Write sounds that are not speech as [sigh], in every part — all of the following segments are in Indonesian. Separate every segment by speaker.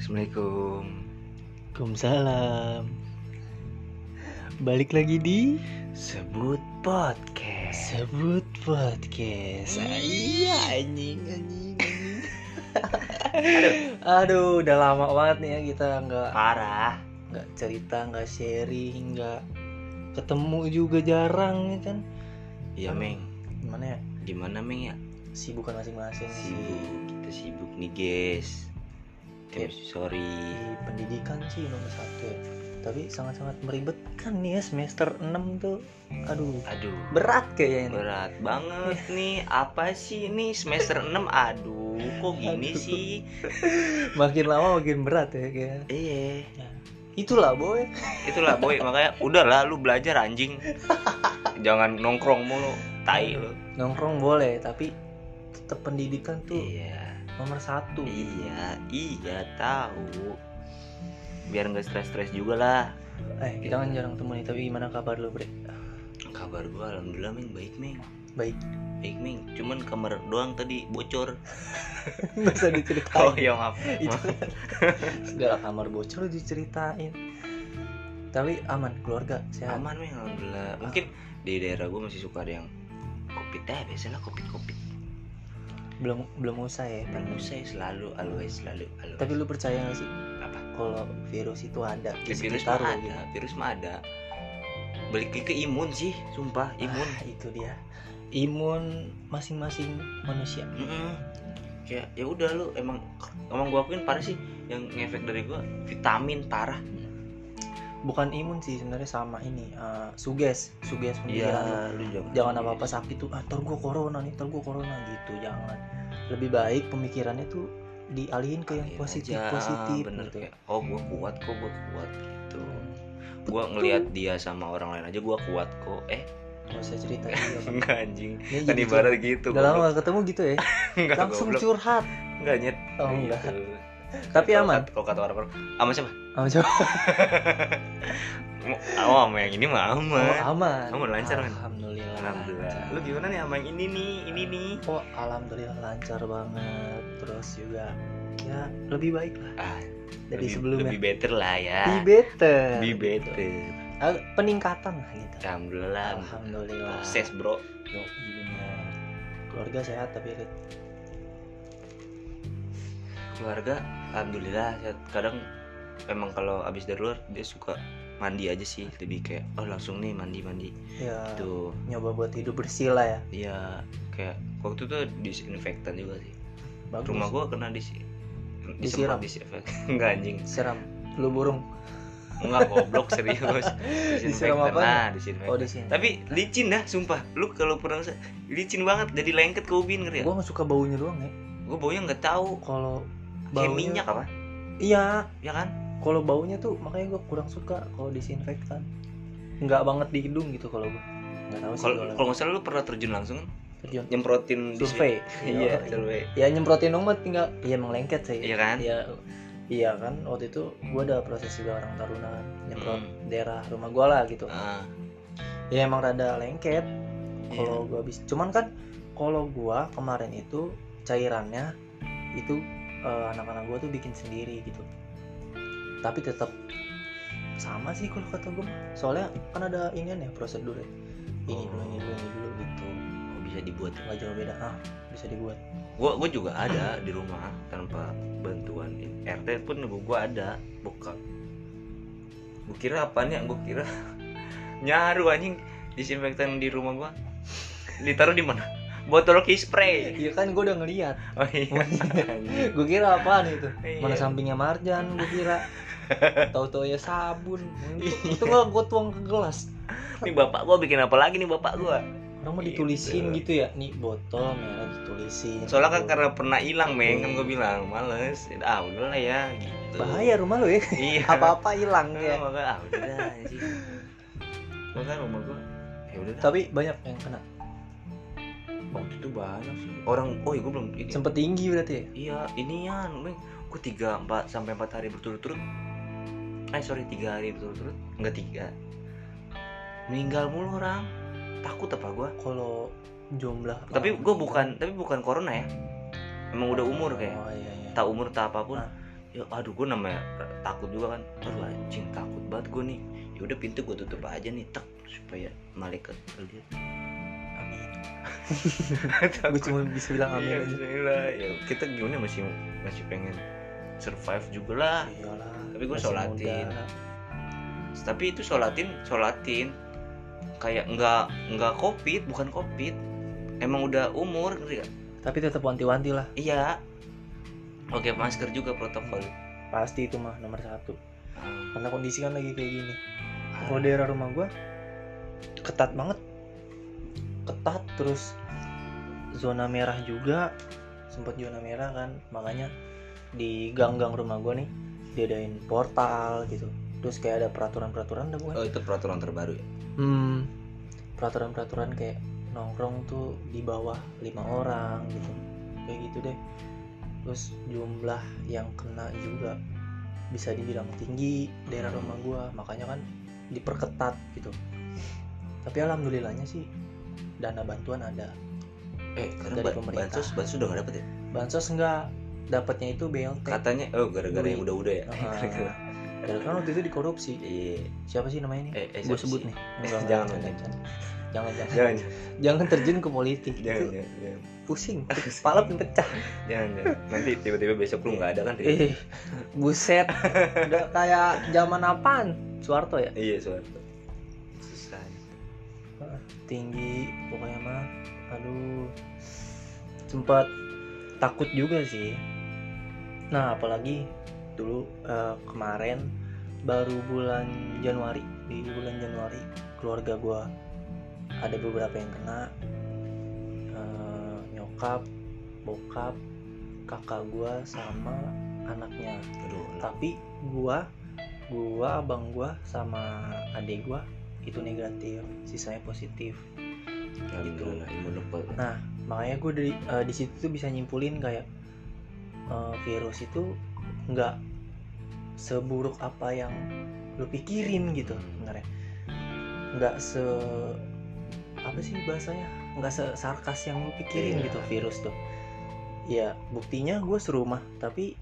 Speaker 1: Assalamualaikum.
Speaker 2: Waalaikumsalam Balik lagi di
Speaker 1: Sebut podcast.
Speaker 2: Sebut Podcast Ah, Iya anjing anjing anjing. [laughs] Aduh udah lama banget nih ya kita nggak
Speaker 1: Parah.
Speaker 2: nggak cerita nggak sharing nggak ketemu juga jarang ya kan
Speaker 1: Ya Meng,
Speaker 2: Gimana ya
Speaker 1: gimana Meng ya?
Speaker 2: sibukan masing-masing sih
Speaker 1: Sibuk, Iya. kita sibuk nih guys. Tapi sorry.
Speaker 2: Di pendidikan sih nomor satu ya. tapi sangat-sangat meribetkan nih ya semester 6 tuh aduh
Speaker 1: Aduh,
Speaker 2: berat kayaknya ini
Speaker 1: berat banget nih. Apa sih ini semester 6? Aduh, kok gini
Speaker 2: Aduh.
Speaker 1: sih?
Speaker 2: makin lama makin berat ya kayak
Speaker 1: Iya.
Speaker 2: itulah boy
Speaker 1: Itulah boy, makanya udahlah lu belajar anjing. Jangan nongkrong mulu, tai lu.
Speaker 2: nongkrong boleh tapi tetap pendidikan tuh
Speaker 1: Iya.
Speaker 2: nomor satu
Speaker 1: Iya, iya tahu. Biar nggak stres-stres juga lah.
Speaker 2: eh kita kan jarang ketemu nih tapi gimana kabar lu
Speaker 1: [laughs]
Speaker 2: bre
Speaker 1: Kabar gua alhamdulillah Ming baik Ming.
Speaker 2: baik
Speaker 1: Baik Ming, cuman kamar doang tadi
Speaker 2: [laughs]
Speaker 1: bocor.
Speaker 2: nggak usah diceritain
Speaker 1: ya [laughs] maaf.
Speaker 2: [laughs] itu kan segala kamar bocor lu diceritain tapi aman keluarga sehat
Speaker 1: Aman Ming alhamdulillah. Mungkin di daerah gua masih suka ada yang kopi teh biasalah kopi kopi
Speaker 2: belum belum usah ya
Speaker 1: orang Musa Kan selalu always selalu always
Speaker 2: tapi lu percaya gak sih
Speaker 1: apa
Speaker 2: kalau virus itu ada
Speaker 1: Ya,
Speaker 2: di
Speaker 1: virus
Speaker 2: sekitar
Speaker 1: mah ada
Speaker 2: lu gitu
Speaker 1: virus mah ada balik lagi ke imun sih sumpah imun
Speaker 2: Ah, itu dia imun masing-masing manusia
Speaker 1: Mm-mm. kayak ya udah lu emang emang gua akuin parah sih yang ngefek dari gua vitamin parah
Speaker 2: bukan imun sih sebenarnya sama ini eh, suges
Speaker 1: Iya.
Speaker 2: suges pendidikan Iya, lu.
Speaker 1: lu
Speaker 2: jangan apa apa sakit tuh ah ntar gua corona nih ntar gua corona gitu jangan lebih baik pemikirannya tuh dialihin ke yang
Speaker 1: Iya
Speaker 2: positif
Speaker 1: aja,
Speaker 2: positif
Speaker 1: bener
Speaker 2: gitu
Speaker 1: kayak oh gue kuat kok gue kuat gitu gue ngelihat dia sama orang lain aja gue kuat kok eh [laughs]
Speaker 2: nggak usah cerita juga Bang.
Speaker 1: enggak anjing
Speaker 2: Ini
Speaker 1: kan
Speaker 2: jadi
Speaker 1: ibarat gitu
Speaker 2: Iya, udah lama
Speaker 1: goblok. [laughs]
Speaker 2: gak ketemu gitu ya
Speaker 1: enggak
Speaker 2: langsung
Speaker 1: goblok.
Speaker 2: curhat
Speaker 1: enggak nyet
Speaker 2: oh enggak
Speaker 1: Gitu.
Speaker 2: Tapi
Speaker 1: Kalau
Speaker 2: aman?
Speaker 1: kata- kalau kata orang-orang sama siapa
Speaker 2: oh, coba
Speaker 1: Mau- oh sama yang ini mah aman
Speaker 2: oh, aman
Speaker 1: Aman, lancar, kan?
Speaker 2: alhamdulillah
Speaker 1: alhamdulillah
Speaker 2: lancar.
Speaker 1: lu gimana nih sama yang ini nih ini nih
Speaker 2: oh alhamdulillah lancar banget terus juga ya lebih baik lah
Speaker 1: ah,
Speaker 2: dari
Speaker 1: lebih,
Speaker 2: sebelumnya
Speaker 1: lebih better lah ya
Speaker 2: be better
Speaker 1: lebih better
Speaker 2: Ah, peningkatan lah gitu
Speaker 1: alhamdulillah
Speaker 2: alhamdulillah
Speaker 1: proses bro
Speaker 2: Yoi, bener. keluarga sehat tapi ya, Rit.
Speaker 1: keluarga alhamdulillah sehat. kadang emang kalau abis dari luar dia suka mandi aja sih lebih kayak oh langsung nih mandi mandi
Speaker 2: ya
Speaker 1: tuh
Speaker 2: nyoba buat hidup bersih lah ya
Speaker 1: iya kayak waktu itu disinfektan juga sih
Speaker 2: bagus
Speaker 1: rumah gua kena dis disemprot
Speaker 2: Disiram.
Speaker 1: disinfektan [laughs] enggak anjing
Speaker 2: siram lu burung
Speaker 1: enggak goblok
Speaker 2: [laughs]
Speaker 1: serius
Speaker 2: Disiram
Speaker 1: disinfektan
Speaker 2: apa?
Speaker 1: lah
Speaker 2: oh
Speaker 1: disinfektan
Speaker 2: di sini Nah,
Speaker 1: tapi licin dah sumpah lu kalau pernah ngerasain, licin banget jadi lengket ke ubin ngeri ya
Speaker 2: gua nggak suka baunya doang ya
Speaker 1: gua baunya nggak tahu
Speaker 2: kalau
Speaker 1: kayak
Speaker 2: baunya
Speaker 1: minyak apa
Speaker 2: iya
Speaker 1: ya kan
Speaker 2: kalau baunya tuh makanya gua kurang suka kalau disinfektan nggak banget di hidung gitu kalau gua nggak tahu sih
Speaker 1: kalau
Speaker 2: gua
Speaker 1: kalau nggak salah lu pernah terjun langsung kan
Speaker 2: terjun
Speaker 1: nyemprotin disin-
Speaker 2: survei [laughs]
Speaker 1: Iya, survei.
Speaker 2: ya nyemprotin nomor tinggal ya emang lengket sih
Speaker 1: Iya kan?
Speaker 2: ya iya kan waktu itu gue ada proses juga orang taruna nyemprot
Speaker 1: Hmm.
Speaker 2: daerah rumah gue lah gitu
Speaker 1: Ah,
Speaker 2: ya emang rada lengket
Speaker 1: iya.
Speaker 2: kalau gue habis cuman kan kalau gue kemarin itu cairannya itu eh, anak-anak gue tuh bikin sendiri gitu tapi tetap sama sih kalau kata gue soalnya kan ada inian ya prosedur ya ini dulu ini dulu ini dulu gitu
Speaker 1: Oh, bisa dibuat.
Speaker 2: nggak jauh beda ah bisa dibuat
Speaker 1: Gua gua juga ada di rumah tanpa bantuan ini. RT pun gua, gua ada bokap. Gua kira apaan ya? Gua kira [laughs] nyaru anjing disinfektan di rumah gua. Ditaruh di mana? Botol key spray.
Speaker 2: iya kan gue udah ngeliat
Speaker 1: Oh iya. Anjing.
Speaker 2: gue kira apaan itu
Speaker 1: Iya.
Speaker 2: mana sampingnya marjan gue
Speaker 1: [laughs]
Speaker 2: kira tahu-tahu ya sabun
Speaker 1: Iya.
Speaker 2: itu gak gue tuang ke gelas
Speaker 1: Ini bapak gua bikin apa lagi nih bapak gua?
Speaker 2: orang
Speaker 1: Iya,
Speaker 2: mah ditulisin gitu ya nih botol merah ditulisin
Speaker 1: Soalnya kan
Speaker 2: Gitu.
Speaker 1: karena pernah hilang, Meng, kan gua bilang males. Ah, udahlah ya gitu.
Speaker 2: Iya. bahaya rumah lo ya
Speaker 1: Iya.
Speaker 2: [laughs] apa-apa hilang
Speaker 1: Enggak,
Speaker 2: ya
Speaker 1: maka ah udah anjing. Maka rumah gua ya udah dah.
Speaker 2: tapi banyak yang kena
Speaker 1: waktu itu banyak sih. Orang oh iya gua belum ini.
Speaker 2: sempet tinggi berarti ya
Speaker 1: Iya, ini ya, Meng. Gua 3 4 sampai 4 hari berturut-turut. Eh sorry 3 hari berturut-turut. Enggak 3. Meninggal mulu orang. Takut apa gua?
Speaker 2: kalau jumlah
Speaker 1: Tapi
Speaker 2: orang-
Speaker 1: gua bukan tapi bukan corona ya. Emang udah umur kayak.
Speaker 2: oh, iya, iya.
Speaker 1: Tak umur tak apapun.
Speaker 2: Ah.
Speaker 1: ya aduh gue namanya takut juga kan aduh anjing takut banget gue nih ya udah pintu gue tutup aja nih tak supaya malaikat lihat
Speaker 2: amin gue cuma bisa
Speaker 1: Iya,
Speaker 2: bilang amin aja
Speaker 1: Bismillah. ya kita gimana masih masih pengen survive juga lah
Speaker 2: iyalah
Speaker 1: Ah. Tapi gua
Speaker 2: masih
Speaker 1: sholatin.
Speaker 2: muda.
Speaker 1: tapi itu sholatin sholatin kayak nggak nggak covid bukan covid emang udah umur ngerti nggak?
Speaker 2: tapi tetap wanti-wanti lah
Speaker 1: iya oke masker juga protokol
Speaker 2: pasti itu mah nomor satu
Speaker 1: Ah,
Speaker 2: karena kondisi kan lagi kayak gini
Speaker 1: ah.
Speaker 2: kalau daerah rumah gua ketat banget ketat terus zona merah juga sempat zona merah kan makanya di gang-gang rumah gua nih diadain portal gitu terus kayak ada peraturan-peraturan dah bukan
Speaker 1: oh itu peraturan terbaru ya
Speaker 2: hmm, peraturan-peraturan kayak nongkrong tuh di bawah lima orang gitu kayak gitu deh terus jumlah yang kena juga bisa dibilang tinggi daerah rumah gua makanya kan diperketat gitu tapi alhamdulillahnya sih dana bantuan ada
Speaker 1: eh karena ba-
Speaker 2: Dari pemerintah. Eh.
Speaker 1: bansos bansos udah nggak dapet ya
Speaker 2: bansos enggak dapatnya itu BLT
Speaker 1: katanya oh gara-gara yang
Speaker 2: Duit.
Speaker 1: udah-udah ya
Speaker 2: Ah, karena kan waktu itu dikorupsi
Speaker 1: iya
Speaker 2: siapa sih namanya nih
Speaker 1: eh, eh,
Speaker 2: gue
Speaker 1: siapa sih?
Speaker 2: sebut nih Enggak, enggak,
Speaker 1: Jangan,
Speaker 2: jangan,
Speaker 1: jangan.
Speaker 2: jangan jangan
Speaker 1: jangan
Speaker 2: jangan terjun ke politik
Speaker 1: jangan
Speaker 2: itu
Speaker 1: jangan jangan
Speaker 2: pusing [laughs] kepala pun pecah
Speaker 1: jangan, jangan. nanti tiba-tiba besok lu nggak ada kan Ri?
Speaker 2: eh [laughs] buset udah kayak zaman apaan Soeharto ya
Speaker 1: iya suara susah ya.
Speaker 2: tinggi pokoknya mah aduh sempat takut juga sih nah apalagi dulu eh, kemarin baru bulan Januari di bulan Januari keluarga gua ada beberapa yang kena Eh, nyokap bokap kakak gua sama anaknya
Speaker 1: aduh enak.
Speaker 2: tapi gua gua abang gua sama adik gua itu negatif sisanya positif
Speaker 1: Alhamdulillah, imun lempat
Speaker 2: makanya gue dari eh, di situ tuh bisa nyimpulin kayak eh, virus itu nggak seburuk apa yang lu pikirin gitu sebenarnya nggak se apa sih bahasanya nggak se sarkas yang lu pikirin
Speaker 1: Iya.
Speaker 2: gitu virus tuh ya buktinya gue serumah tapi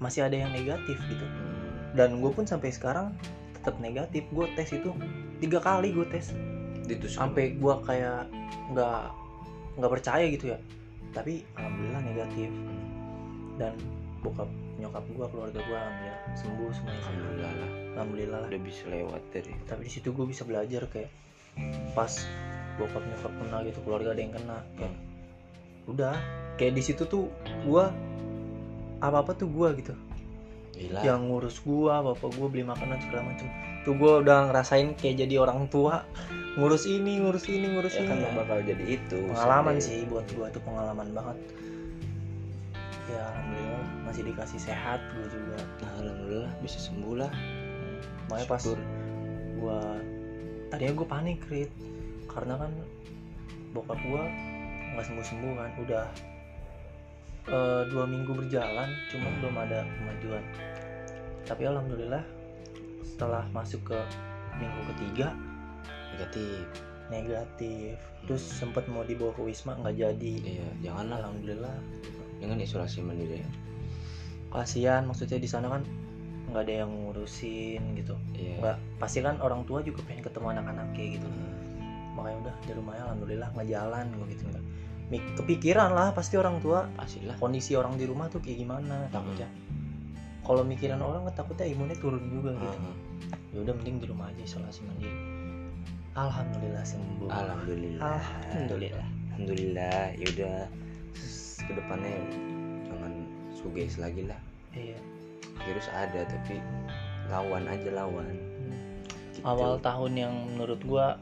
Speaker 2: masih ada yang negatif gitu dan gue pun sampai sekarang tetap negatif gue tes itu tiga kali gue tes
Speaker 1: ditusuk
Speaker 2: sampai gue kayak nggak nggak percaya gitu ya tapi alhamdulillah negatif dan bokap nyokap gue keluarga gue alhamdulillah sembuh semuanya
Speaker 1: alhamdulillah lah
Speaker 2: alhamdulillah lah
Speaker 1: udah bisa lewat dari
Speaker 2: tapi di situ gue bisa belajar kayak pas bokap nyokap kena gitu keluarga ada yang kena kayak udah kayak di situ tuh gue apa apa tuh gue gitu
Speaker 1: gila
Speaker 2: yang ngurus gua bapak gua beli makanan segala macam tuh gua udah ngerasain kayak jadi orang tua ngurus ini ngurus ini ngurus
Speaker 1: ya
Speaker 2: ini
Speaker 1: kan bakal jadi itu
Speaker 2: pengalaman
Speaker 1: someday.
Speaker 2: sih buat gua tuh pengalaman banget ya alhamdulillah masih dikasih sehat gua juga
Speaker 1: Nah, alhamdulillah bisa sembuh lah
Speaker 2: makanya pas
Speaker 1: Syukur.
Speaker 2: gua tadinya gua panik Rit karena kan bokap gua nggak sembuh sembuh kan udah eh, dua minggu berjalan cuma belum ada kemajuan tapi alhamdulillah setelah masuk ke minggu ketiga
Speaker 1: negatif
Speaker 2: negatif terus sempet mau dibawa ke wisma nggak jadi
Speaker 1: iya janganlah
Speaker 2: alhamdulillah
Speaker 1: jangan isolasi mandiri ya
Speaker 2: kasihan maksudnya di sana kan nggak ada yang ngurusin gitu
Speaker 1: iya
Speaker 2: nggak pasti kan orang tua juga pengen ketemu anak-anaknya gitu
Speaker 1: Hmm.
Speaker 2: makanya udah di rumahnya alhamdulillah nggak jalan gue gitu nggak Mik- kepikiran lah pasti orang tua
Speaker 1: pastilah
Speaker 2: kondisi orang di rumah tuh kayak gimana takutnya kalau mikiran orang kan takutnya imunnya turun juga gitu
Speaker 1: Ah,
Speaker 2: ya udah mending di rumah aja isolasi mandiri alhamdulillah sembuh
Speaker 1: alhamdulillah
Speaker 2: alhamdulillah
Speaker 1: alhamdulillah yaudah Terus kedepannya jangan suges lagi lah
Speaker 2: iya
Speaker 1: virus ada tapi lawan aja lawan
Speaker 2: Hmm.
Speaker 1: Gitu.
Speaker 2: awal tahun yang menurut gua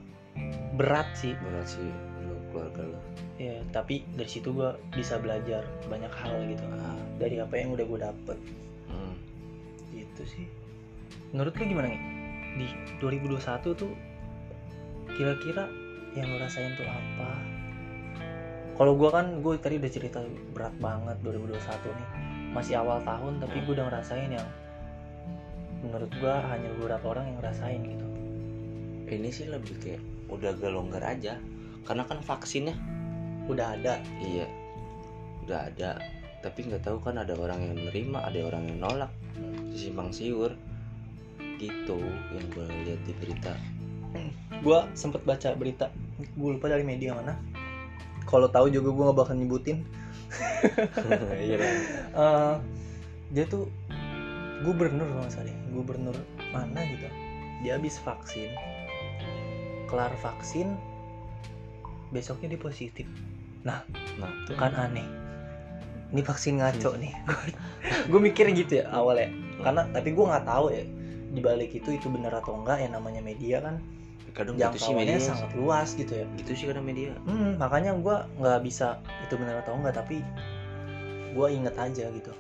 Speaker 2: berat sih
Speaker 1: berat sih lu keluarga lu
Speaker 2: ya tapi dari situ gua bisa belajar banyak hal gitu
Speaker 1: Ah,
Speaker 2: dari apa yang udah gua dapet
Speaker 1: hmm.
Speaker 2: gitu sih menurut lu gimana nih di 2021 tuh kira-kira yang lu rasain tuh apa kalau gua kan gue tadi udah cerita berat banget 2021 nih masih awal tahun tapi gue udah ngerasain yang menurut gua hanya beberapa orang yang ngerasain gitu
Speaker 1: ini sih lebih kayak udah agak longgar aja karena kan vaksinnya
Speaker 2: udah ada
Speaker 1: iya udah ada tapi nggak tahu kan ada orang yang menerima ada orang yang nolak simpang siur gitu yang gue lihat di berita
Speaker 2: gue sempet baca berita gue lupa dari media mana kalau tahu juga gue gak bakal nyebutin
Speaker 1: [laughs] iya kan?
Speaker 2: Eh, dia tuh gubernur kalau nggak salah deh, gubernur mana gitu dia habis vaksin kelar vaksin besoknya dia positif
Speaker 1: nah tuh
Speaker 2: kan aneh ini vaksin ngaco nih [laughs] gue mikir gitu ya awalnya karena tapi gue nggak tahu ya dibalik itu itu bener atau enggak ya namanya media kan
Speaker 1: kadang gitu sih
Speaker 2: jangkauannya
Speaker 1: media
Speaker 2: sangat luas gitu ya
Speaker 1: gitu sih kadang media
Speaker 2: Hmm, makanya gue nggak bisa itu benar atau enggak tapi gue inget aja gitu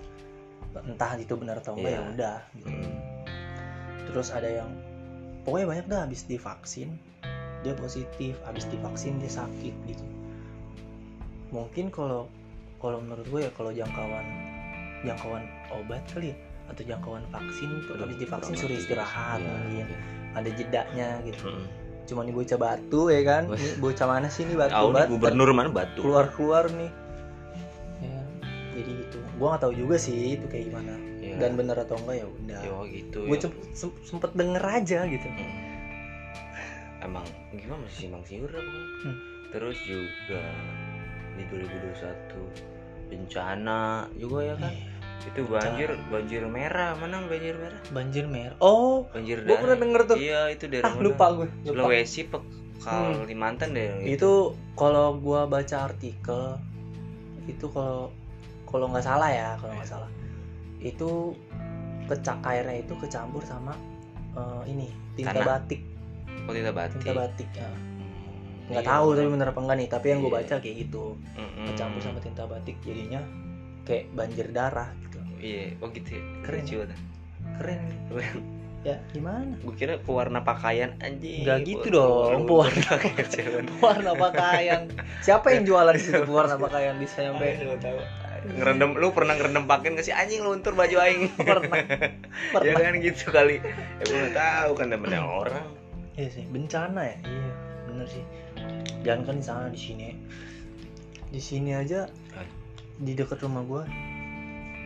Speaker 2: entah itu benar atau enggak
Speaker 1: Iya.
Speaker 2: ya udah gitu.
Speaker 1: Hmm.
Speaker 2: terus ada yang pokoknya banyak dah habis divaksin dia positif habis divaksin dia sakit gitu mungkin kalau kalau menurut gue ya kalau jangkauan jangkauan obat kali ya, atau jangkauan vaksin tuh habis divaksin suruh istirahat
Speaker 1: Iya.
Speaker 2: mungkin ada jedanya gitu
Speaker 1: Hmm.
Speaker 2: cuma nih bocah batu ya kan Ini bocah mana sih nih batu
Speaker 1: tahu nih
Speaker 2: banget
Speaker 1: gubernur mana batu
Speaker 2: keluar keluar nih ya jadi gitu gua nggak tahu juga sih itu kayak gimana
Speaker 1: Ya,
Speaker 2: dan bener atau enggak ya udah
Speaker 1: ya gitu
Speaker 2: gue
Speaker 1: ya.
Speaker 2: sempet denger aja gitu
Speaker 1: Hmm. emang gimana sih simpang siur apa kan?
Speaker 2: Hmm.
Speaker 1: terus juga di 2021 bencana juga ya kan
Speaker 2: Iya.
Speaker 1: itu banjir banjir merah mana banjir merah
Speaker 2: banjir merah oh
Speaker 1: banjir
Speaker 2: gue pernah
Speaker 1: daerah
Speaker 2: denger tuh
Speaker 1: iya itu daerah
Speaker 2: ah
Speaker 1: mana?
Speaker 2: lupa gue lupa
Speaker 1: Sulawesi Pe- Kalimantan deh
Speaker 2: itu kalau gua baca artikel itu kalau kalau nggak salah ya kalau nggak salah itu kecak airnya itu kecampur sama eh, ini tinta
Speaker 1: Tanah.
Speaker 2: batik
Speaker 1: kok tidak batik
Speaker 2: tinta batik ya.
Speaker 1: Hmm,
Speaker 2: nggak
Speaker 1: iya,
Speaker 2: tahu
Speaker 1: betul.
Speaker 2: tapi bener apa enggak nih tapi yang gue
Speaker 1: Iya.
Speaker 2: baca kayak gitu
Speaker 1: Mm-mm.
Speaker 2: kecampur sama tinta batik jadinya kayak banjir darah gitu
Speaker 1: iya oh gitu ya.
Speaker 2: Keren.
Speaker 1: Lucu banget. [laughs]
Speaker 2: keren
Speaker 1: Keren.
Speaker 2: ya gimana
Speaker 1: gue kira pewarna pakaian anjing
Speaker 2: Nggak gitu
Speaker 1: Pewarna-
Speaker 2: dong,
Speaker 1: pewarna [laughs] pakaian cewek.
Speaker 2: warna pakaian siapa yang jualan di situ warna pakaian di sampai
Speaker 1: Aduh, tahu. ngerendam lu pernah ngerendam pakaian gak sih anjing luntur baju aing
Speaker 2: pernah
Speaker 1: ya
Speaker 2: pernah
Speaker 1: kan gitu kali ya gue nggak tahu kan temennya orang
Speaker 2: iya sih bencana ya iya bener sih jangan kan di sana di sini di sini aja
Speaker 1: Hai.
Speaker 2: di dekat rumah gua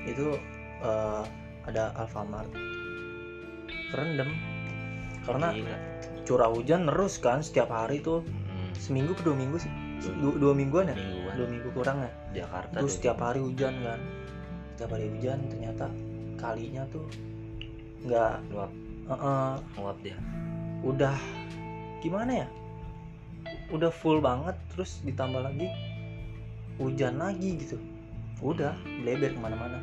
Speaker 2: itu eh, ada Alfamart rendem karena
Speaker 1: Gila.
Speaker 2: curah hujan terus kan setiap hari tuh
Speaker 1: Hmm,
Speaker 2: seminggu ke dua minggu sih dua, dua mingguan ya
Speaker 1: mingguan
Speaker 2: dua minggu kurang ya
Speaker 1: Jakarta
Speaker 2: terus
Speaker 1: tuh.
Speaker 2: setiap hari hujan kan setiap hari hujan ternyata kalinya tuh nggak
Speaker 1: Luap.
Speaker 2: Heeh,
Speaker 1: nguap dia
Speaker 2: udah gimana ya udah full banget terus ditambah lagi hujan lagi gitu udah bleber kemana-mana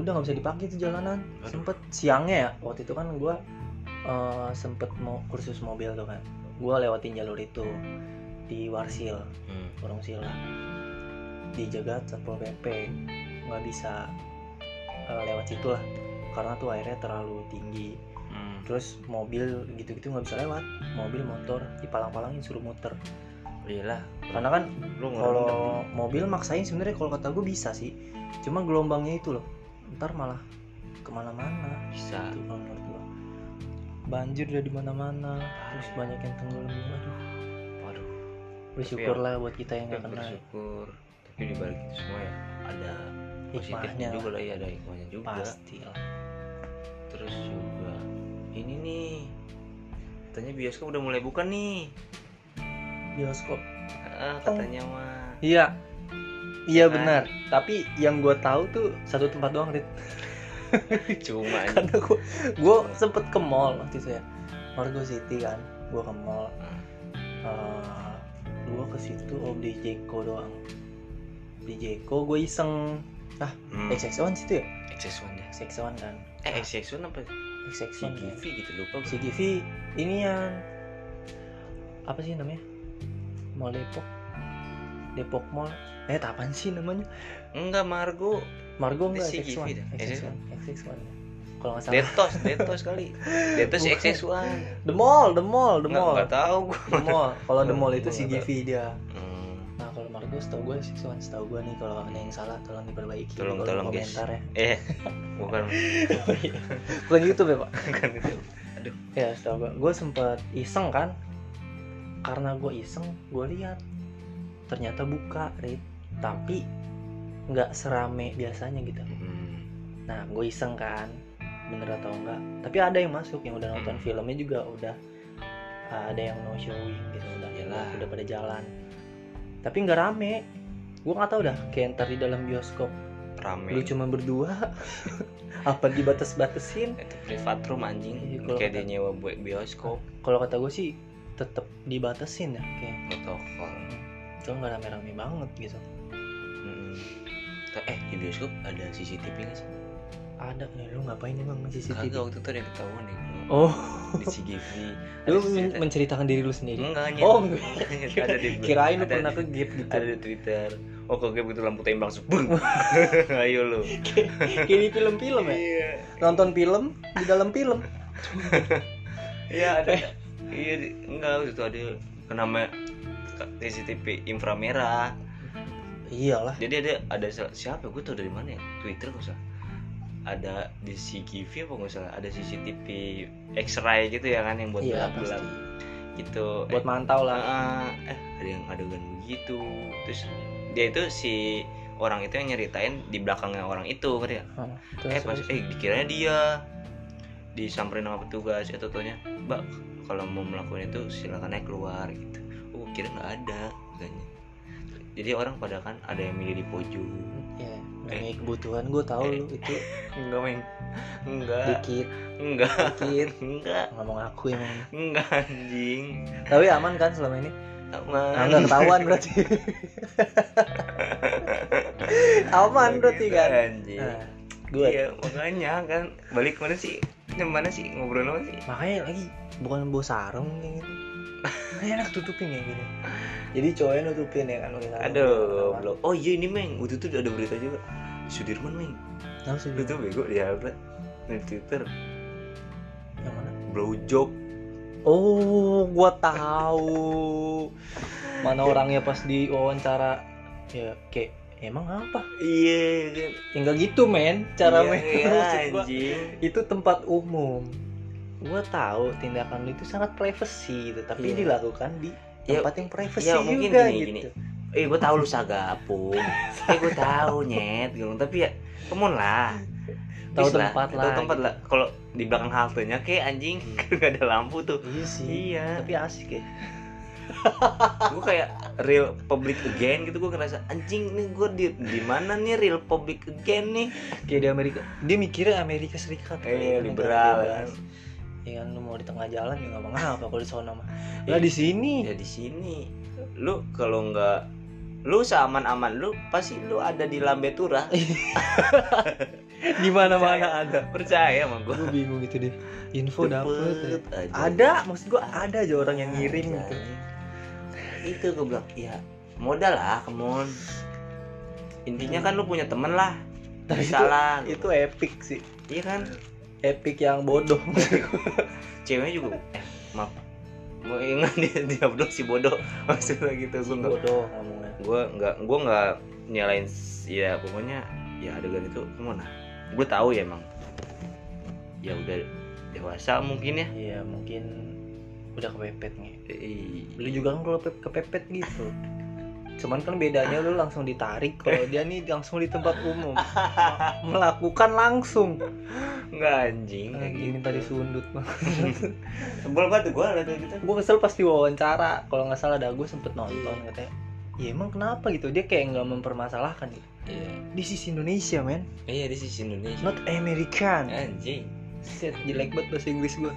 Speaker 2: udah nggak bisa dipakai tuh jalanan
Speaker 1: Aduh.
Speaker 2: sempet siangnya ya waktu itu kan gua eh, sempet mau kursus mobil tuh kan gua lewatin jalur itu di Warsil
Speaker 1: Hmm.
Speaker 2: Warung Sila dijaga satpol pp nggak bisa eh, lewat situ lah karena tuh airnya terlalu tinggi
Speaker 1: Hmm.
Speaker 2: terus mobil gitu-gitu nggak bisa lewat mobil motor dipalang-palangin suruh muter
Speaker 1: Gila,
Speaker 2: karena kan
Speaker 1: Iya lu ngerendam
Speaker 2: kalau mobil maksain sebenarnya kalau kata gue bisa sih cuma gelombangnya itu loh ntar malah kemana-mana
Speaker 1: bisa
Speaker 2: itu kalau menurut gua. banjir udah di mana-mana terus banyak yang tenggelam aduh
Speaker 1: waduh
Speaker 2: Iya, bersyukurlah buat kita yang
Speaker 1: ya, tapi
Speaker 2: nggak kena
Speaker 1: bersyukur tapi dibalik itu semua ya ada positifnya
Speaker 2: hikmahnya
Speaker 1: juga lah ya ada hikmahnya juga
Speaker 2: pasti lah
Speaker 1: terus juga ini nih katanya bioskop udah mulai buka nih
Speaker 2: bioskop
Speaker 1: ah, katanya
Speaker 2: [laughs]
Speaker 1: mah
Speaker 2: Iya. Iya
Speaker 1: Kan?
Speaker 2: benar. Tapi yang gue tahu tuh satu tempat doang, Rit. [laughs]
Speaker 1: cuma anjing.
Speaker 2: Karena gue gue sempet ke mall waktu itu ya. Margo City kan. Gue ke mall.
Speaker 1: Hmm.
Speaker 2: Eh, gue ke situ om di Jeko doang. Di Jeko gue iseng
Speaker 1: hmm.
Speaker 2: XX1 situ ya?
Speaker 1: XS1 deh
Speaker 2: XX1 kan.
Speaker 1: eh XS1 apa
Speaker 2: XX1
Speaker 1: CGV gitu lupa
Speaker 2: kan.
Speaker 1: gue.
Speaker 2: CGV ini yang apa sih namanya? Mall Depok. Depok Mall. Eh, apaan sih namanya?
Speaker 1: enggak Margo
Speaker 2: Margo enggak
Speaker 1: CGV
Speaker 2: XX1.
Speaker 1: dah.
Speaker 2: XX1. XX1. ya. Kalau nggak salah
Speaker 1: Detos Detos kali
Speaker 2: [laughs]
Speaker 1: Detos
Speaker 2: Bukan.
Speaker 1: XS1
Speaker 2: The Mall, The Mall, The
Speaker 1: enggak
Speaker 2: Mall.
Speaker 1: enggak tahu gue
Speaker 2: The Mall. Kalau The Mall itu
Speaker 1: Nggak
Speaker 2: si GV dia.
Speaker 1: Hmm.
Speaker 2: Nah, kalau Margo setahu gue sih soalnya setahu gue nih kalau ada yang salah tolong diperbaiki
Speaker 1: Tolong,
Speaker 2: di kolom
Speaker 1: tolong, guys. Oh, iya.
Speaker 2: komentar ya. [laughs]
Speaker 1: eh bukan [laughs]
Speaker 2: Bukan YouTube ya, Pak.
Speaker 1: bukan itu
Speaker 2: Ya, setahu gue. Gue sempet iseng kan. Karena gue iseng, gue lihat ternyata buka, Rit. Tapi nggak serame biasanya gitu
Speaker 1: Hmm.
Speaker 2: nah gue iseng kan bener atau enggak tapi ada yang masuk yang udah
Speaker 1: Hmm.
Speaker 2: nonton filmnya juga udah uh, ada yang no showing gitu udah
Speaker 1: Yalah.
Speaker 2: udah pada jalan tapi nggak rame gue nggak tahu dah kayak ntar di dalam bioskop
Speaker 1: Rame.
Speaker 2: lu cuma berdua [laughs] apa dibatas-batasin
Speaker 1: Itu privat room anjing.
Speaker 2: Iya, kalau
Speaker 1: Kayak dia
Speaker 2: kata-
Speaker 1: nyewa buat bioskop,
Speaker 2: kalau kata gue sih tetap dibatasin ya kayak
Speaker 1: protokol.
Speaker 2: itu nggak rame-rame banget gitu
Speaker 1: Hmm. Ta- Eh di bioskop ada CCTV nggak sih?
Speaker 2: ada ya, lu ngapain emang ngisi
Speaker 1: Kagak
Speaker 2: CCTV
Speaker 1: waktu itu ada yang ketahuan nih.
Speaker 2: oh
Speaker 1: Di CGV. ada
Speaker 2: lu
Speaker 1: CCTV.
Speaker 2: men- menceritakan diri lu sendiri
Speaker 1: Enggak, nyet.
Speaker 2: Oh, enggak.
Speaker 1: ada di
Speaker 2: kirain lu
Speaker 1: Hmm. ada
Speaker 2: pernah
Speaker 1: di-
Speaker 2: ke gap gitu
Speaker 1: ada di Twitter. Oh, kok begitu lampu tembak langsung bun. [laughs] Ayo lu.
Speaker 2: kayak di film-film ya
Speaker 1: Iya.
Speaker 2: nonton film di dalam film
Speaker 1: Iya,
Speaker 2: Eh.
Speaker 1: ada. Iya, di- enggak waktu itu ada kenama CCTV infra merah.
Speaker 2: iyalah
Speaker 1: jadi ada ada sel- siapa gue tau dari mana ya Twitter nggak usah ada di CGV apa nggak salah ada CCTV X-ray gitu ya kan yang buat
Speaker 2: iya
Speaker 1: gelap-gelap
Speaker 2: pasti
Speaker 1: gitu
Speaker 2: buat
Speaker 1: eh,
Speaker 2: mantau lah
Speaker 1: ah, eh ada yang adegan begitu terus dia itu si orang itu yang nyeritain di belakangnya orang itu ngerti nggak? eh
Speaker 2: Hah, Ah, terus-
Speaker 1: pas eh dikiranya dia disamperin sama petugas ya totonya mbak kalau mau melakukan itu silakan aja keluar gitu oh kira nggak ada katanya jadi orang pada kan ada yang milih di pojok
Speaker 2: Iya,
Speaker 1: eh.
Speaker 2: namanya kebutuhan gue tahu
Speaker 1: Eh.
Speaker 2: lu itu
Speaker 1: enggak men enggak
Speaker 2: dikit
Speaker 1: enggak
Speaker 2: dikit
Speaker 1: [laughs] enggak
Speaker 2: ngomong aku emang
Speaker 1: enggak anjing Nah,
Speaker 2: tapi aman kan selama ini Ah,
Speaker 1: aman
Speaker 2: nggak ketahuan berarti aman berarti
Speaker 1: Gitu,
Speaker 2: kan
Speaker 1: anjing
Speaker 2: nah, gue
Speaker 1: iya makanya kan balik mana sih yang mana sih ngobrol apa sih
Speaker 2: makanya lagi bukan bawa sarung kayak gitu Makanya enak tutupin ya gini jadi cowoknya nutupin ya kan pakai sarung.
Speaker 1: aduh goblok. oh iya ini meng waktu itu ada berita juga Sudirman meng
Speaker 2: Tahu sih,
Speaker 1: lu tuh bego di apa di Twitter
Speaker 2: yang mana
Speaker 1: blowjob
Speaker 2: oh gua tahu mana orangnya pas diwawancara ya kayak emang apa
Speaker 1: iya kan
Speaker 2: ya nggak gitu men cara
Speaker 1: Iya,
Speaker 2: main
Speaker 1: iya,
Speaker 2: Maksud gua,
Speaker 1: anjing
Speaker 2: itu tempat umum gue tahu tindakan lu itu sangat privacy gitu tapi
Speaker 1: Iya.
Speaker 2: dilakukan di
Speaker 1: Ya,
Speaker 2: tempat yang privacy
Speaker 1: ya, mungkin
Speaker 2: juga
Speaker 1: gini,
Speaker 2: gitu
Speaker 1: eh gue tau lu sagapung eh gue tau nyet gitu tapi ya kemun lah
Speaker 2: tahu
Speaker 1: Please
Speaker 2: tempat lah gitu.
Speaker 1: tahu tempat lah Hmm. kalau di belakang haltenya kayak anjing [laughs] nggak ada lampu tuh
Speaker 2: iya sih
Speaker 1: iya
Speaker 2: tapi asik ya
Speaker 1: gue kayak real public again gitu gue ngerasa anjing nih gue di di mana nih real public again nih
Speaker 2: kayak di Amerika dia mikirnya Amerika Serikat
Speaker 1: Eh,
Speaker 2: kali ya, negara
Speaker 1: liberal,
Speaker 2: bebas. ya kan lu mau di tengah jalan ya nggak mengapa kalau di sana mah lah di sini
Speaker 1: ya di sini lu kalau nggak lu seaman-aman lu pasti lu ada di lambe turah
Speaker 2: di mana mana ada
Speaker 1: percaya sama gue
Speaker 2: gue bingung gitu deh info dapet ya.
Speaker 1: aja.
Speaker 2: ada maksud gua ada aja orang yang ngirim
Speaker 1: Ada.
Speaker 2: gitu
Speaker 1: itu gue bilang ya modal lah kemon intinya kan lu punya temen lah
Speaker 2: Tapi itu-
Speaker 1: salah
Speaker 2: itu epic sih
Speaker 1: iya kan
Speaker 2: epic yang bodoh
Speaker 1: ceweknya juga eh, maaf mau ingat dia [laughs] dia bodoh si bodoh maksudnya gitu gue nggak
Speaker 2: bodoh ngomongnya
Speaker 1: gue nggak gue nggak nyalain s- ya pokoknya ya adegan itu kemana gue tahu ya emang ya udah dewasa mungkin ya
Speaker 2: [laughs] Iya mungkin udah kepepet nih.
Speaker 1: Ih,
Speaker 2: Lu juga kan kalau pe- kepepet gitu. Cuman kan bedanya lu langsung ditarik kalau dia nih langsung di tempat umum. Ma- Melakukan langsung.
Speaker 1: nggak anjing
Speaker 2: Kayak
Speaker 1: kayak gitu
Speaker 2: gini tadi sundut banget.
Speaker 1: sebel banget gue liat kayak gitu
Speaker 2: Gue kesel pas di wawancara kalau nggak salah ada gue sempet nonton
Speaker 1: Iya.
Speaker 2: katanya. Ya emang kenapa gitu? Dia kayak nggak mempermasalahkan gitu.
Speaker 1: iya
Speaker 2: This is Indonesia, man.
Speaker 1: iya di sisi Indonesia
Speaker 2: Not American.
Speaker 1: anjing
Speaker 2: Set Eh, jelek banget bahasa Inggris gue.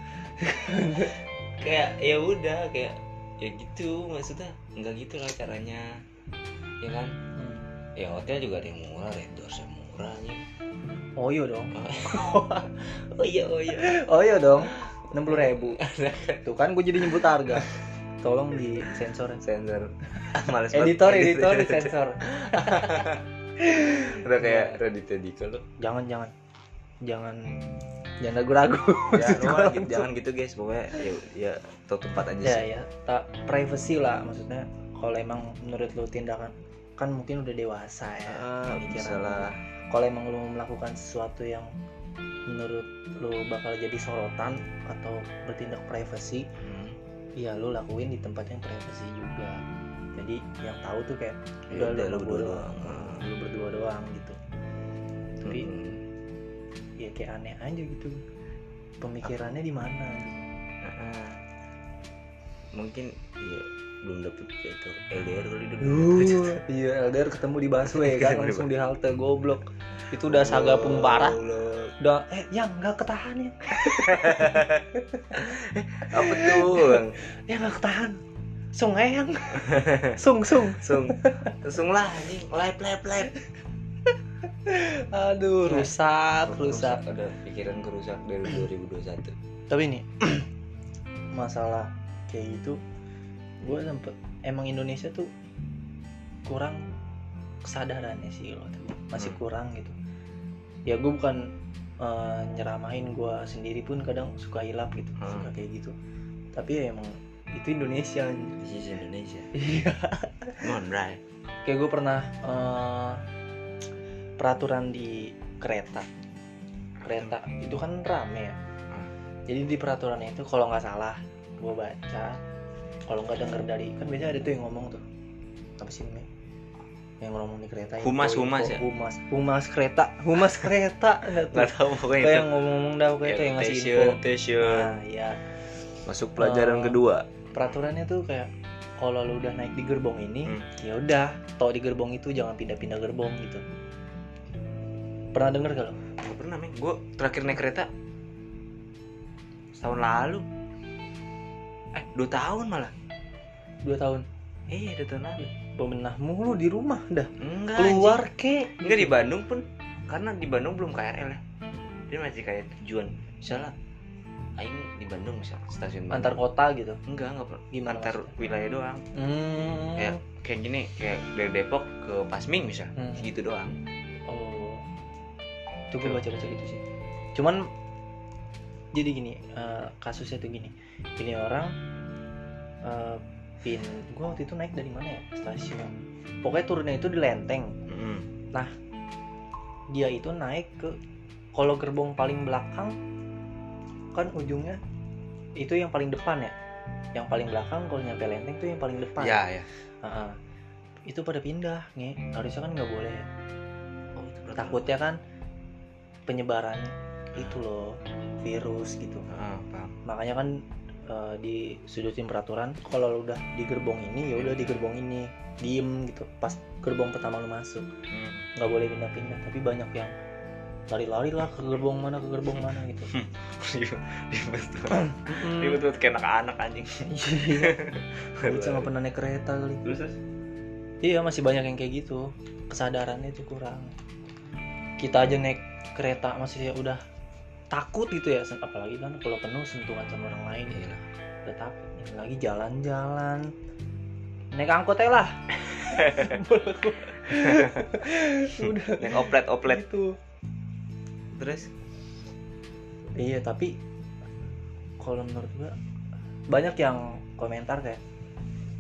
Speaker 1: kayak ya udah kayak ya gitu maksudnya nggak gitu lah caranya ya kan
Speaker 2: Hmm.
Speaker 1: ya hotel juga ada yang murah ya, endorse yang murah nih
Speaker 2: Oh iya [laughs] dong.
Speaker 1: oh iya oh iya
Speaker 2: Oh iya dong. 60.000 [laughs] ribu Tuh kan gue jadi nyebut harga Tolong di sensor
Speaker 1: sensor [laughs] males banget.
Speaker 2: Editor,
Speaker 1: [laughs]
Speaker 2: editor, di sensor
Speaker 1: udah kayak gitu Raditya Dika lu
Speaker 2: Jangan, jangan Jangan Jangan [laughs] ragu-ragu
Speaker 1: ya,
Speaker 2: Maksud
Speaker 1: lu
Speaker 2: gua
Speaker 1: mah
Speaker 2: langsung.
Speaker 1: gitu- [laughs] jangan gitu guys pokoknya ya, ya tau tempat aja
Speaker 2: Ya
Speaker 1: sih
Speaker 2: ya tak Privacy lah maksudnya Kalau emang menurut lu tindakan Kan mungkin udah dewasa ya
Speaker 1: Ah, bisa
Speaker 2: pemikiran.
Speaker 1: lah
Speaker 2: Kalau emang lu melakukan sesuatu yang Menurut lu bakal jadi sorotan Atau bertindak privacy
Speaker 1: Hmm.
Speaker 2: Iya lu lakuin di tempat yang privacy juga Jadi yang tahu tuh kayak
Speaker 1: Ya
Speaker 2: Udah,
Speaker 1: udah
Speaker 2: lu
Speaker 1: lu
Speaker 2: berdua
Speaker 1: dulu Hmm.
Speaker 2: doang. lu berdua doang gitu tapi
Speaker 1: Mm-mm.
Speaker 2: ya kayak aneh aja gitu pemikirannya di mana gitu.
Speaker 1: Ah. mungkin ya belum dapet kayak itu LDR kali dulu
Speaker 2: Uh, [laughs] iya LDR ketemu di [laughs] busway kan langsung di halte goblok itu udah saga parah
Speaker 1: Allah.
Speaker 2: udah eh yang nggak ketahan ya
Speaker 1: apa tuh Bang?
Speaker 2: ya nggak ketahan sung [laughs] yang sung sung
Speaker 1: langsung langsung lah anjing live live live
Speaker 2: aduh rusak rusak
Speaker 1: ada pikiran kerusak dari 2021
Speaker 2: tapi ini [clears throat] masalah kayak gitu gue sempet emang Indonesia tuh kurang kesadarannya sih loh masih
Speaker 1: Hmm.
Speaker 2: kurang gitu ya gue bukan eh, nyeramahin gue sendiri pun kadang suka hilap gitu
Speaker 1: Hmm.
Speaker 2: suka kayak gitu tapi ya emang itu Indonesia anjing. [laughs]
Speaker 1: this is Indonesia
Speaker 2: iya
Speaker 1: come on right
Speaker 2: kayak gue pernah eh, peraturan di kereta kereta itu kan rame ya
Speaker 1: Hmm.
Speaker 2: jadi di peraturannya itu kalau nggak salah gue baca kalau nggak denger dari kan biasanya ada tuh yang ngomong tuh apa sih namanya yang ngomong di kereta info,
Speaker 1: Humas,
Speaker 2: info,
Speaker 1: humas ya?
Speaker 2: humas humas kereta humas kereta nggak tuh
Speaker 1: nggak tahu pokoknya
Speaker 2: kayak
Speaker 1: itu
Speaker 2: yang ngomong-ngomong dah kayak itu yang ngasih info
Speaker 1: Attention, attention.
Speaker 2: nah ya
Speaker 1: masuk pelajaran
Speaker 2: Eh,
Speaker 1: kedua
Speaker 2: peraturannya tuh kayak kalau lu udah naik di gerbong ini
Speaker 1: Hmm.
Speaker 2: ya udah tau di gerbong itu jangan pindah-pindah gerbong gitu pernah denger gak lo
Speaker 1: Gak pernah men Gue terakhir naik kereta Setahun lalu Eh dua tahun malah
Speaker 2: dua tahun
Speaker 1: Iya dua tahun lalu
Speaker 2: bebenah mulu di rumah dah
Speaker 1: Enggak
Speaker 2: keluar ke
Speaker 1: anjing. Enggak di Bandung pun Karena di Bandung belum KRL ya Dia masih kayak tujuan Misalnya Aing di Bandung misal stasiun
Speaker 2: antar
Speaker 1: Bandung.
Speaker 2: kota gitu
Speaker 1: Enggak enggak pernah
Speaker 2: gimana
Speaker 1: Antar
Speaker 2: maksudnya?
Speaker 1: wilayah doang
Speaker 2: Hmm.
Speaker 1: Kayak kayak gini Kayak dari Depok ke Pasming misal
Speaker 2: Hmm.
Speaker 1: Gitu doang
Speaker 2: Oh. Itu gue baca-baca gitu sih. Cuman jadi gini, eh, kasusnya tuh gini. Ini orang eh, pin gue waktu itu naik dari mana ya? Stasiun. Pokoknya turunnya itu di Lenteng.
Speaker 1: Mm-mm.
Speaker 2: Dia itu naik ke kalau gerbong paling belakang kan ujungnya itu yang paling depan ya. Yang paling belakang kalau nyampe Lenteng tuh yang paling depan.
Speaker 1: Ya ya
Speaker 2: Heeh. Itu pada pindah, nih. Harusnya kan nggak boleh ya.
Speaker 1: Oh, itu peraturan.
Speaker 2: takutnya kan penyebaran itu loh virus gitu
Speaker 1: Ah, paham.
Speaker 2: makanya kan eh, di sudutin peraturan kalau lu udah di gerbong ini ya udah di gerbong ini diem gitu pas gerbong pertama lu masuk
Speaker 1: Hmm.
Speaker 2: nggak boleh pindah-pindah tapi banyak yang lari-lari lah ke gerbong mana ke gerbong mana gitu
Speaker 1: [laughs] Ribet banget. Ribet banget kayak anak-anak anjing
Speaker 2: [laughs] gue sama pernah naik kereta kali
Speaker 1: Terus, terus?
Speaker 2: Iya masih banyak yang kayak gitu Kesadarannya itu kurang Kita aja naik kereta masih ya udah takut gitu ya sen- Apalagi kan kalau penuh sentuhan sama orang lain ya.
Speaker 1: Iya lah.
Speaker 2: Udah takut Ini lagi jalan-jalan Naik angkot aja lah [laughs] Udah gitu.
Speaker 1: Naik oplet-oplet
Speaker 2: itu
Speaker 1: Terus
Speaker 2: Iya tapi kalau menurut gua banyak yang komentar kayak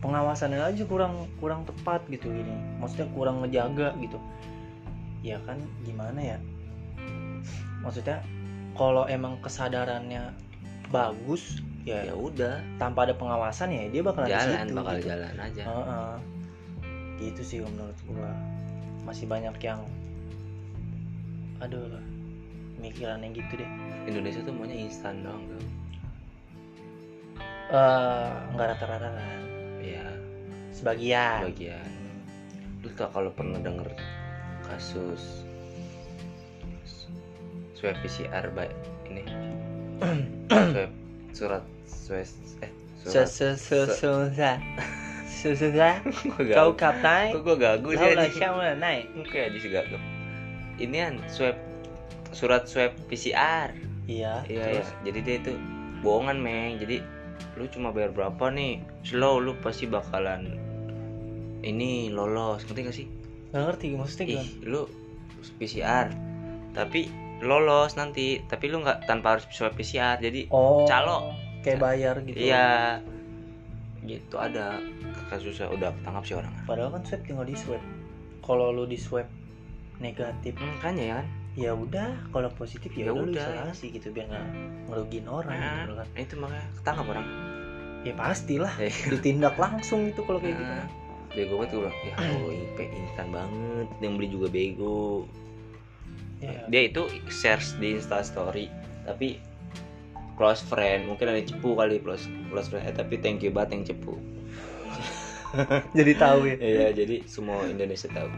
Speaker 2: pengawasannya aja kurang kurang tepat gitu gini maksudnya kurang ngejaga gitu ya kan gimana ya maksudnya kalau emang kesadarannya bagus ya
Speaker 1: ya udah
Speaker 2: tanpa ada pengawasan ya dia bakal
Speaker 1: jalan
Speaker 2: situ,
Speaker 1: bakal
Speaker 2: gitu.
Speaker 1: jalan aja
Speaker 2: Heeh. gitu sih kalau menurut gua masih banyak yang aduh mikirannya gitu deh
Speaker 1: Indonesia tuh maunya instan doang dong
Speaker 2: Eh, nggak rata-rata kan
Speaker 1: ya
Speaker 2: sebagian
Speaker 1: bagian lu tau kalau pernah denger kasus swab PCR by
Speaker 2: [clears throat]
Speaker 1: ini swab surat swab eh surat
Speaker 2: sesusah sesusah
Speaker 1: Gua
Speaker 2: kau
Speaker 1: gagu.
Speaker 2: katai
Speaker 1: kok gue gagu sih
Speaker 2: kau lah
Speaker 1: anjing?
Speaker 2: siapa naik
Speaker 1: Oke aja sih gagal. Inian swab surat swab PCR.
Speaker 2: iya
Speaker 1: Iya, iya.
Speaker 2: terus
Speaker 1: Jadi dia itu bohongan, Meng. Jadi lu cuma bayar berapa nih? Slow lu pasti bakalan ini lolos. Ngerti gak sih?
Speaker 2: nggak ngerti maksudnya
Speaker 1: Ih,
Speaker 2: gimana
Speaker 1: lu PCR. Tapi lolos nanti, tapi lu nggak tanpa harus swab PCR. Jadi
Speaker 2: oh
Speaker 1: calo.
Speaker 2: kayak bayar gitu
Speaker 1: iya. Gitu ada kasusnya udah ketangkap sih orang.
Speaker 2: padahal kan swab tinggal di swab kalau lu di swab negatif
Speaker 1: Hmm, kan ya kan?
Speaker 2: ya udah kalau positif ya
Speaker 1: Ya
Speaker 2: udah lu
Speaker 1: udah.
Speaker 2: isolasi gitu biar nggak ngerugiin orang
Speaker 1: Nah.
Speaker 2: gitu kan
Speaker 1: Nah, itu makanya ketangkap orang.
Speaker 2: ya pastilah
Speaker 1: [laughs] Eh.
Speaker 2: ditindak langsung itu kalau kayak gitu
Speaker 1: Nah, bego banget gue bilang ya Allah IP intan banget yang beli juga bego
Speaker 2: Iya.
Speaker 1: dia itu share di Insta Story tapi close friend mungkin ada cepu kali close close friend eh, tapi thank you banget yang cepu
Speaker 2: jadi tahu ya
Speaker 1: Iya, jadi semua Indonesia tahu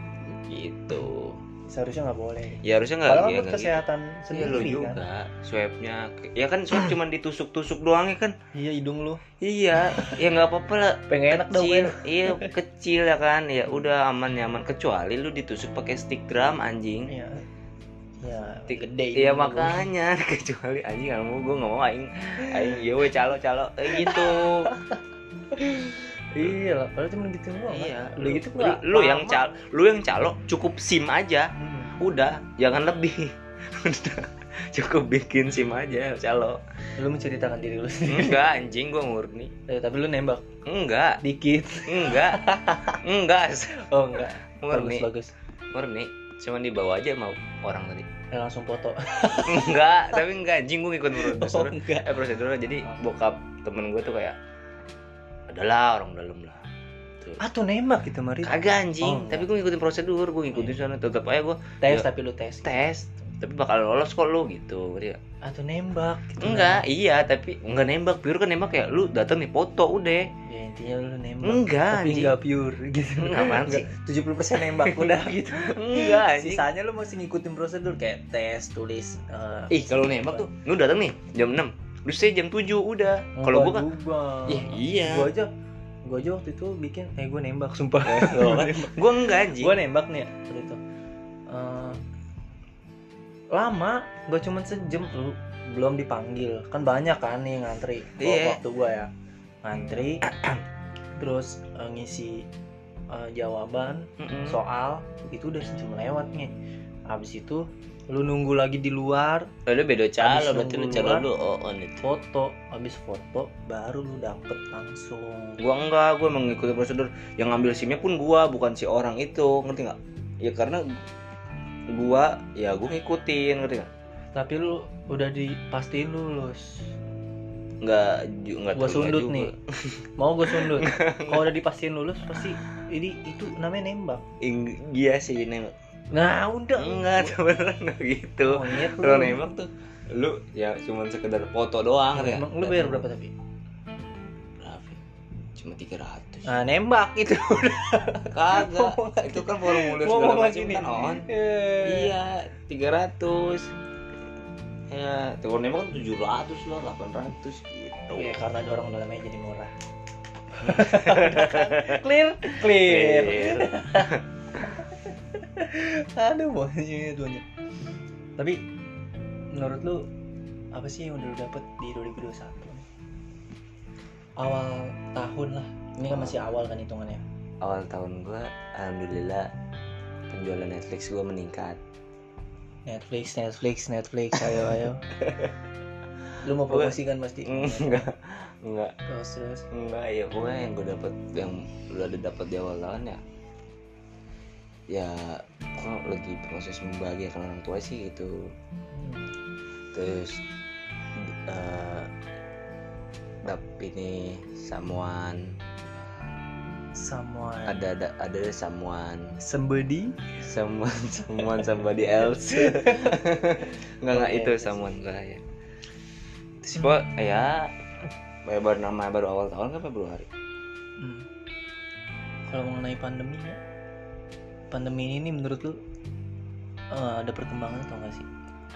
Speaker 1: gitu.
Speaker 2: seharusnya nggak boleh
Speaker 1: Ya harusnya nggak ya,
Speaker 2: kalau buat
Speaker 1: nggak gitu.
Speaker 2: kesehatan
Speaker 1: Iya lu
Speaker 2: sendiri kan
Speaker 1: juga swabnya ya kan swab cuma ditusuk-tusuk doang ya kan
Speaker 2: iya hidung lu [laughs]
Speaker 1: iya ya nggak apa-apa lah
Speaker 2: pengen enak
Speaker 1: kecil
Speaker 2: dong
Speaker 1: iya kecil ya kan ya udah aman nyaman kecuali lu ditusuk pakai stick drum anjing
Speaker 2: iya iya
Speaker 1: Ti-
Speaker 2: gede
Speaker 1: Iya
Speaker 2: hidung lu.
Speaker 1: makanya [laughs] kecuali anjing kalau mau gue nggak mau aing aing ya we calo calo eh, gitu
Speaker 2: iya lah padahal cuma gitu doang kan.
Speaker 1: iya
Speaker 2: udah gitu
Speaker 1: lu,
Speaker 2: nggak
Speaker 1: lu yang
Speaker 2: lama.
Speaker 1: calo lu yang calo cukup sim aja
Speaker 2: Hmm.
Speaker 1: udah jangan lebih [laughs] Udah, cukup bikin sim aja calo
Speaker 2: lu menceritakan diri lu sendiri
Speaker 1: enggak anjing gue murni
Speaker 2: Eh, tapi lu nembak
Speaker 1: enggak
Speaker 2: dikit [laughs]
Speaker 1: enggak enggak
Speaker 2: oh enggak bagus
Speaker 1: murni
Speaker 2: bagus
Speaker 1: murni cuman dibawa aja sama orang tadi
Speaker 2: Eh, langsung foto
Speaker 1: enggak tapi enggak anjing gue ngikut
Speaker 2: oh
Speaker 1: prosedur
Speaker 2: enggak
Speaker 1: eh prosedur jadi bokap temen gue tuh kayak adalah orang dalam lah
Speaker 2: ah tuh nembak gitu mari
Speaker 1: kagak
Speaker 2: Oh,
Speaker 1: anjing
Speaker 2: enggak. Iya.
Speaker 1: tapi gue ngikutin prosedur gue ngikutin sana tetap aja gue Iya.
Speaker 2: tes tapi lu tes
Speaker 1: tes tapi bakal lolos kok lu gitu dia
Speaker 2: ah tuh nembak gitu
Speaker 1: Enggak, iya tapi enggak nembak. Pure kan nembak kayak lu datang nih foto udah.
Speaker 2: nembak. ya intinya lu nembak
Speaker 1: Enggak,
Speaker 2: tapi
Speaker 1: anjing.
Speaker 2: enggak pure gitu
Speaker 1: Enggak, apaan sih?
Speaker 2: tujuh puluh persen nembak
Speaker 1: [laughs]
Speaker 2: udah gitu
Speaker 1: Enggak, anjing.
Speaker 2: sisanya lu masih ngikutin prosedur kayak tes tulis eh,
Speaker 1: Ih, kalau nembak tuh lu datang nih jam 6. Lu saya jam 7 udah. Kalau gua kan
Speaker 2: juga.
Speaker 1: Iya, iya.
Speaker 2: gua aja gua aja waktu itu bikin eh gua nembak sumpah
Speaker 1: Lo kan? Gua enggak anjing.
Speaker 2: [laughs] gua nembak nih waktu itu Eh, lama gak cuman sejam lu belum dipanggil kan banyak kan nih ngantri Kalau
Speaker 1: Iya.
Speaker 2: waktu gua ya ngantri [clears throat] terus eh, ngisi eh, jawaban
Speaker 1: Mm-mm.
Speaker 2: soal itu udah sejam lewat nih habis itu lu nunggu lagi di luar
Speaker 1: Oh, lu beda
Speaker 2: Habis
Speaker 1: calo berarti lu
Speaker 2: nunggu
Speaker 1: calo
Speaker 2: luar.
Speaker 1: lu oh, gitu. on itu.
Speaker 2: foto habis foto baru lu dapet langsung
Speaker 1: Gua enggak, gua mengikuti prosedur. Yang ngambil SIM-nya pun gua, bukan si orang itu, ngerti nggak? Ya karena gua ya gua ngikutin, ngerti nggak?
Speaker 2: tapi lu udah dipastiin lulus
Speaker 1: Enggak ju- enggak
Speaker 2: gua
Speaker 1: terima
Speaker 2: sundut
Speaker 1: juga. [laughs]
Speaker 2: nih mau gua sundut kalau udah dipastiin lulus pasti ini itu namanya nembak
Speaker 1: Ing- Iya sih nembak.
Speaker 2: nah udah
Speaker 1: Enggak, [laughs] sebenarnya enggak gitu.
Speaker 2: monyet lu
Speaker 1: Kalau nembak tuh lu ya cuman sekedar foto doang ya.
Speaker 2: Emang lu bayar berapa tapi
Speaker 1: Berapa? ya? Cuma 300.
Speaker 2: nah nembak itu
Speaker 1: [laughs] Kagak. itu kan formulir segala
Speaker 2: ngomong lagi
Speaker 1: macam
Speaker 2: nih
Speaker 1: kan on.
Speaker 2: iya
Speaker 1: Iya, 300. Ya, tuh kalau nembak kan 700 lah, 800 gitu.
Speaker 2: Ya, karena ada orang dalamnya jadi
Speaker 1: [laughs]
Speaker 2: murah clear clear
Speaker 1: Iya.
Speaker 2: aduh monyet monyet ya, tapi menurut lu apa sih yang udah lu dapet di 2021 awal tahun lah ini kan masih awal kan hitungannya
Speaker 1: Awal tahun gua alhamdulillah penjualan Netflix gua meningkat.
Speaker 2: Netflix Netflix Netflix ayo ayo lu mau promosikan pasti
Speaker 1: [laughs] Enggak, enggak,
Speaker 2: terus terus
Speaker 1: enggak ya pokoknya yang gua dapat yang udah ada dapat di awal tahun ya ya kalau lagi proses membahagiakan orang tua sih gitu
Speaker 2: Hmm.
Speaker 1: terus eh dap- ini samuan
Speaker 2: someone
Speaker 1: ada ada ada samuan
Speaker 2: somebody
Speaker 1: samuan [laughs] samuan somebody else [laughs] nggak nggak itu samuan gua ya terus gua ya ya baru nama baru awal tahun kan Februari
Speaker 2: Hmm. kalau mengenai pandemi ya pandemi ini nih menurut lu eh, ada perkembangan atau enggak sih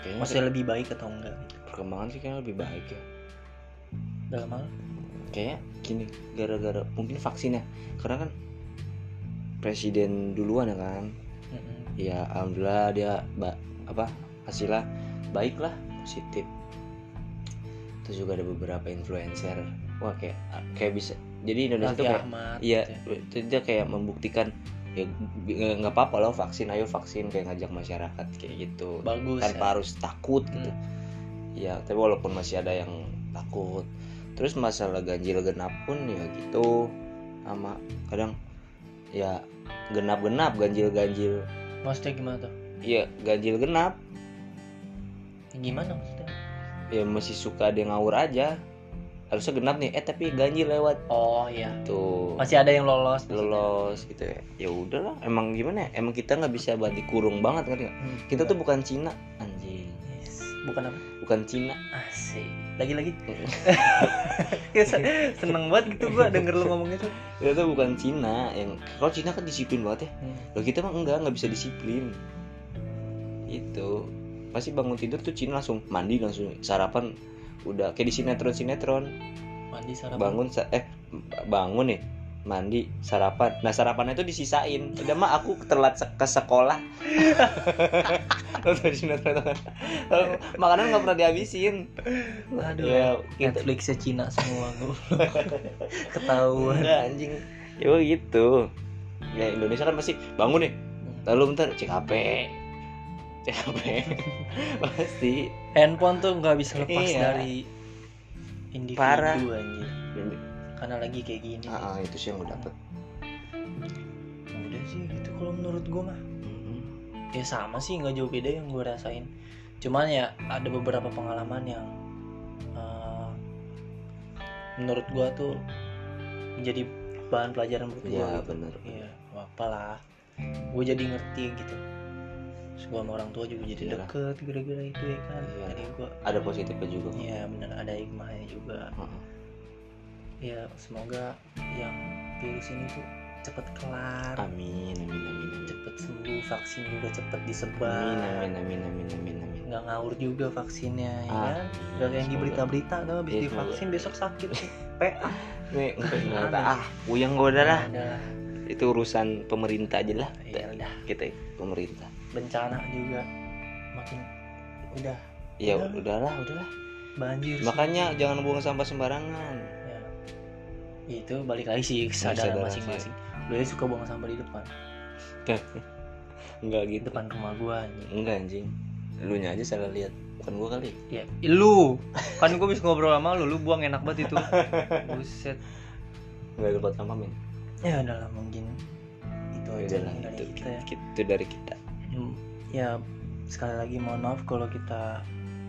Speaker 1: kayaknya
Speaker 2: maksudnya lebih baik atau enggak gitu
Speaker 1: perkembangan sih kayaknya lebih baik ya
Speaker 2: dalam hal
Speaker 1: kayaknya gini gara-gara mungkin vaksin ya karena kan presiden duluan ya kan
Speaker 2: Mm-mm.
Speaker 1: ya alhamdulillah dia ba- apa hasilnya baik lah positif terus juga ada beberapa influencer wah kayak kayak bisa jadi Indonesia
Speaker 2: Raffi
Speaker 1: tuh kayak
Speaker 2: Ahmad
Speaker 1: iya
Speaker 2: gitu ya.
Speaker 1: itu dia kayak membuktikan ya bi- nggak nggak apa-apa loh vaksin ayo vaksin kayak ngajak masyarakat kayak gitu
Speaker 2: bagus
Speaker 1: tanpa
Speaker 2: ya. Hmm.
Speaker 1: harus takut gitu ya tapi walaupun masih ada yang takut terus masalah ganjil genap pun ya gitu sama kadang ya genap genap ganjil ganjil
Speaker 2: maksudnya gimana tuh
Speaker 1: ya ganjil genap
Speaker 2: gimana maksudnya
Speaker 1: ya masih suka ada yang ngawur aja harusnya genap nih eh tapi ganjil lewat
Speaker 2: oh iya
Speaker 1: tuh
Speaker 2: masih ada yang lolos maksudnya.
Speaker 1: lolos gitu ya ya udahlah emang gimana ya emang kita nggak bisa buat dikurung banget ngerti nggak?
Speaker 2: Hmm,
Speaker 1: kita tuh bukan Cina anjing
Speaker 2: yes. bukan apa
Speaker 1: bukan Cina
Speaker 2: asik lagi-lagi [laughs] ya, se- seneng banget gitu gua denger lu ngomong itu
Speaker 1: kita tuh bukan Cina yang kalau Cina kan disiplin banget ya
Speaker 2: Hmm.
Speaker 1: Loh kita mah enggak, nggak bisa disiplin. Itu pasti bangun tidur tuh Cina langsung mandi langsung sarapan udah kayak di sinetron sinetron
Speaker 2: mandi sarapan
Speaker 1: bangun sa- eh b- bangun nih mandi sarapan nah sarapannya itu disisain udah mah aku telat se- ke sekolah [laughs] Lo tau di sinetron itu kan? Kalau makanan nggak pernah dihabisin
Speaker 2: Aduh,
Speaker 1: ya kita
Speaker 2: Netflixnya Cina semua
Speaker 1: [laughs]
Speaker 2: goblok. ketahuan
Speaker 1: enggak anjing ya gitu ya Indonesia kan pasti bangun nih lalu bentar cek HP cek [laughs] HP pasti
Speaker 2: handphone tuh nggak bisa lepas
Speaker 1: Iya.
Speaker 2: dari individu
Speaker 1: Parah.
Speaker 2: anjir karena lagi kayak gini
Speaker 1: ah, ah, itu sih yang gue dapet
Speaker 2: udah sih gitu kalau menurut gue mah
Speaker 1: Mhm.
Speaker 2: ya sama sih nggak jauh beda yang gue rasain cuman ya ada beberapa pengalaman yang eh, menurut gue tuh menjadi bahan pelajaran buat gue
Speaker 1: ya
Speaker 2: gitu.
Speaker 1: bener
Speaker 2: Iya, nggak apalah gue jadi ngerti gitu Terus gue sama orang tua juga jadi
Speaker 1: Iyalah.
Speaker 2: deket gara-gara itu ya kan
Speaker 1: Iya.
Speaker 2: jadi gue
Speaker 1: ada positifnya juga kok.
Speaker 2: ya bener ada hikmahnya juga
Speaker 1: Heeh.
Speaker 2: ya semoga yang virus ini tuh cepet kelar
Speaker 1: amin amin amin amin
Speaker 2: cepet sembuh vaksin juga cepet
Speaker 1: amin
Speaker 2: disebar
Speaker 1: amin amin amin amin amin
Speaker 2: nggak ngawur juga vaksinnya ya
Speaker 1: Ah,
Speaker 2: kan nggak kayak yang di
Speaker 1: semoga.
Speaker 2: berita-berita tuh habis
Speaker 1: Iya,
Speaker 2: divaksin besok sakit
Speaker 1: [laughs]
Speaker 2: tuh
Speaker 1: Nih, nggak nggak
Speaker 2: Ada.
Speaker 1: tahu. ah puyeng gue udah lah
Speaker 2: Ada.
Speaker 1: itu urusan pemerintah aja lah
Speaker 2: ya udah
Speaker 1: kita ikut pemerintah
Speaker 2: bencana juga makin udah
Speaker 1: ya
Speaker 2: Udah.
Speaker 1: udahlah udahlah
Speaker 2: banjir sih.
Speaker 1: makanya jangan buang sampah sembarangan
Speaker 2: Ya. itu balik lagi sih
Speaker 1: Kesadaran
Speaker 2: kesadaran masing-masing gue suka buang sampah di depan
Speaker 1: enggak
Speaker 2: di
Speaker 1: gitu
Speaker 2: depan rumah gue anjing
Speaker 1: enggak anjing lu nya aja salah lihat bukan gue kali
Speaker 2: ya lu kan gue bisa ngobrol sama lu lu buang enak
Speaker 1: [laughs]
Speaker 2: banget itu buset
Speaker 1: enggak lupa sama men
Speaker 2: ya udahlah mungkin itu aja
Speaker 1: Udah lah,
Speaker 2: nih Oh, dari
Speaker 1: itu,
Speaker 2: kita ya.
Speaker 1: ki- itu dari kita.
Speaker 2: Hmm, ya sekali lagi mohon maaf kalau kita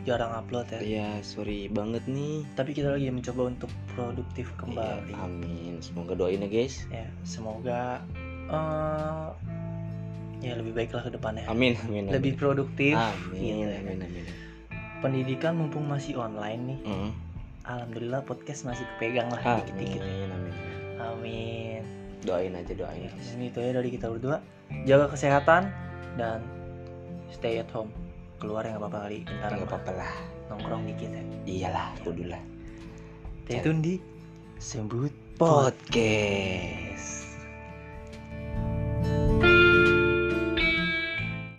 Speaker 2: jarang upload ya
Speaker 1: Iya, sorry banget nih.
Speaker 2: tapi kita lagi mencoba untuk produktif kembali
Speaker 1: Iya, amin. Semoga doain ya, guys.
Speaker 2: ya semoga eh, ya lebih baik lah ke depannya
Speaker 1: Amin, amin. Ah. amin.
Speaker 2: lebih produktif
Speaker 1: amin,
Speaker 2: gitu ya.
Speaker 1: amin, amin.
Speaker 2: pendidikan mumpung masih online nih
Speaker 1: Mm.
Speaker 2: alhamdulillah podcast masih kepegang lah
Speaker 1: Amin,
Speaker 2: dikit-dikit
Speaker 1: amin, amin.
Speaker 2: amin
Speaker 1: Doain aja, doain.
Speaker 2: ya,
Speaker 1: guys.
Speaker 2: ini itu ya dari kita berdua jaga kesehatan dan stay at home keluar ya nggak apa-apa kali bentar
Speaker 1: Nggak
Speaker 2: mah.
Speaker 1: apa-apa lah.
Speaker 2: nongkrong dikit ya
Speaker 1: Iyalah, kudulah.
Speaker 2: Teh Tundi Sembut Podcast.
Speaker 1: Podcast.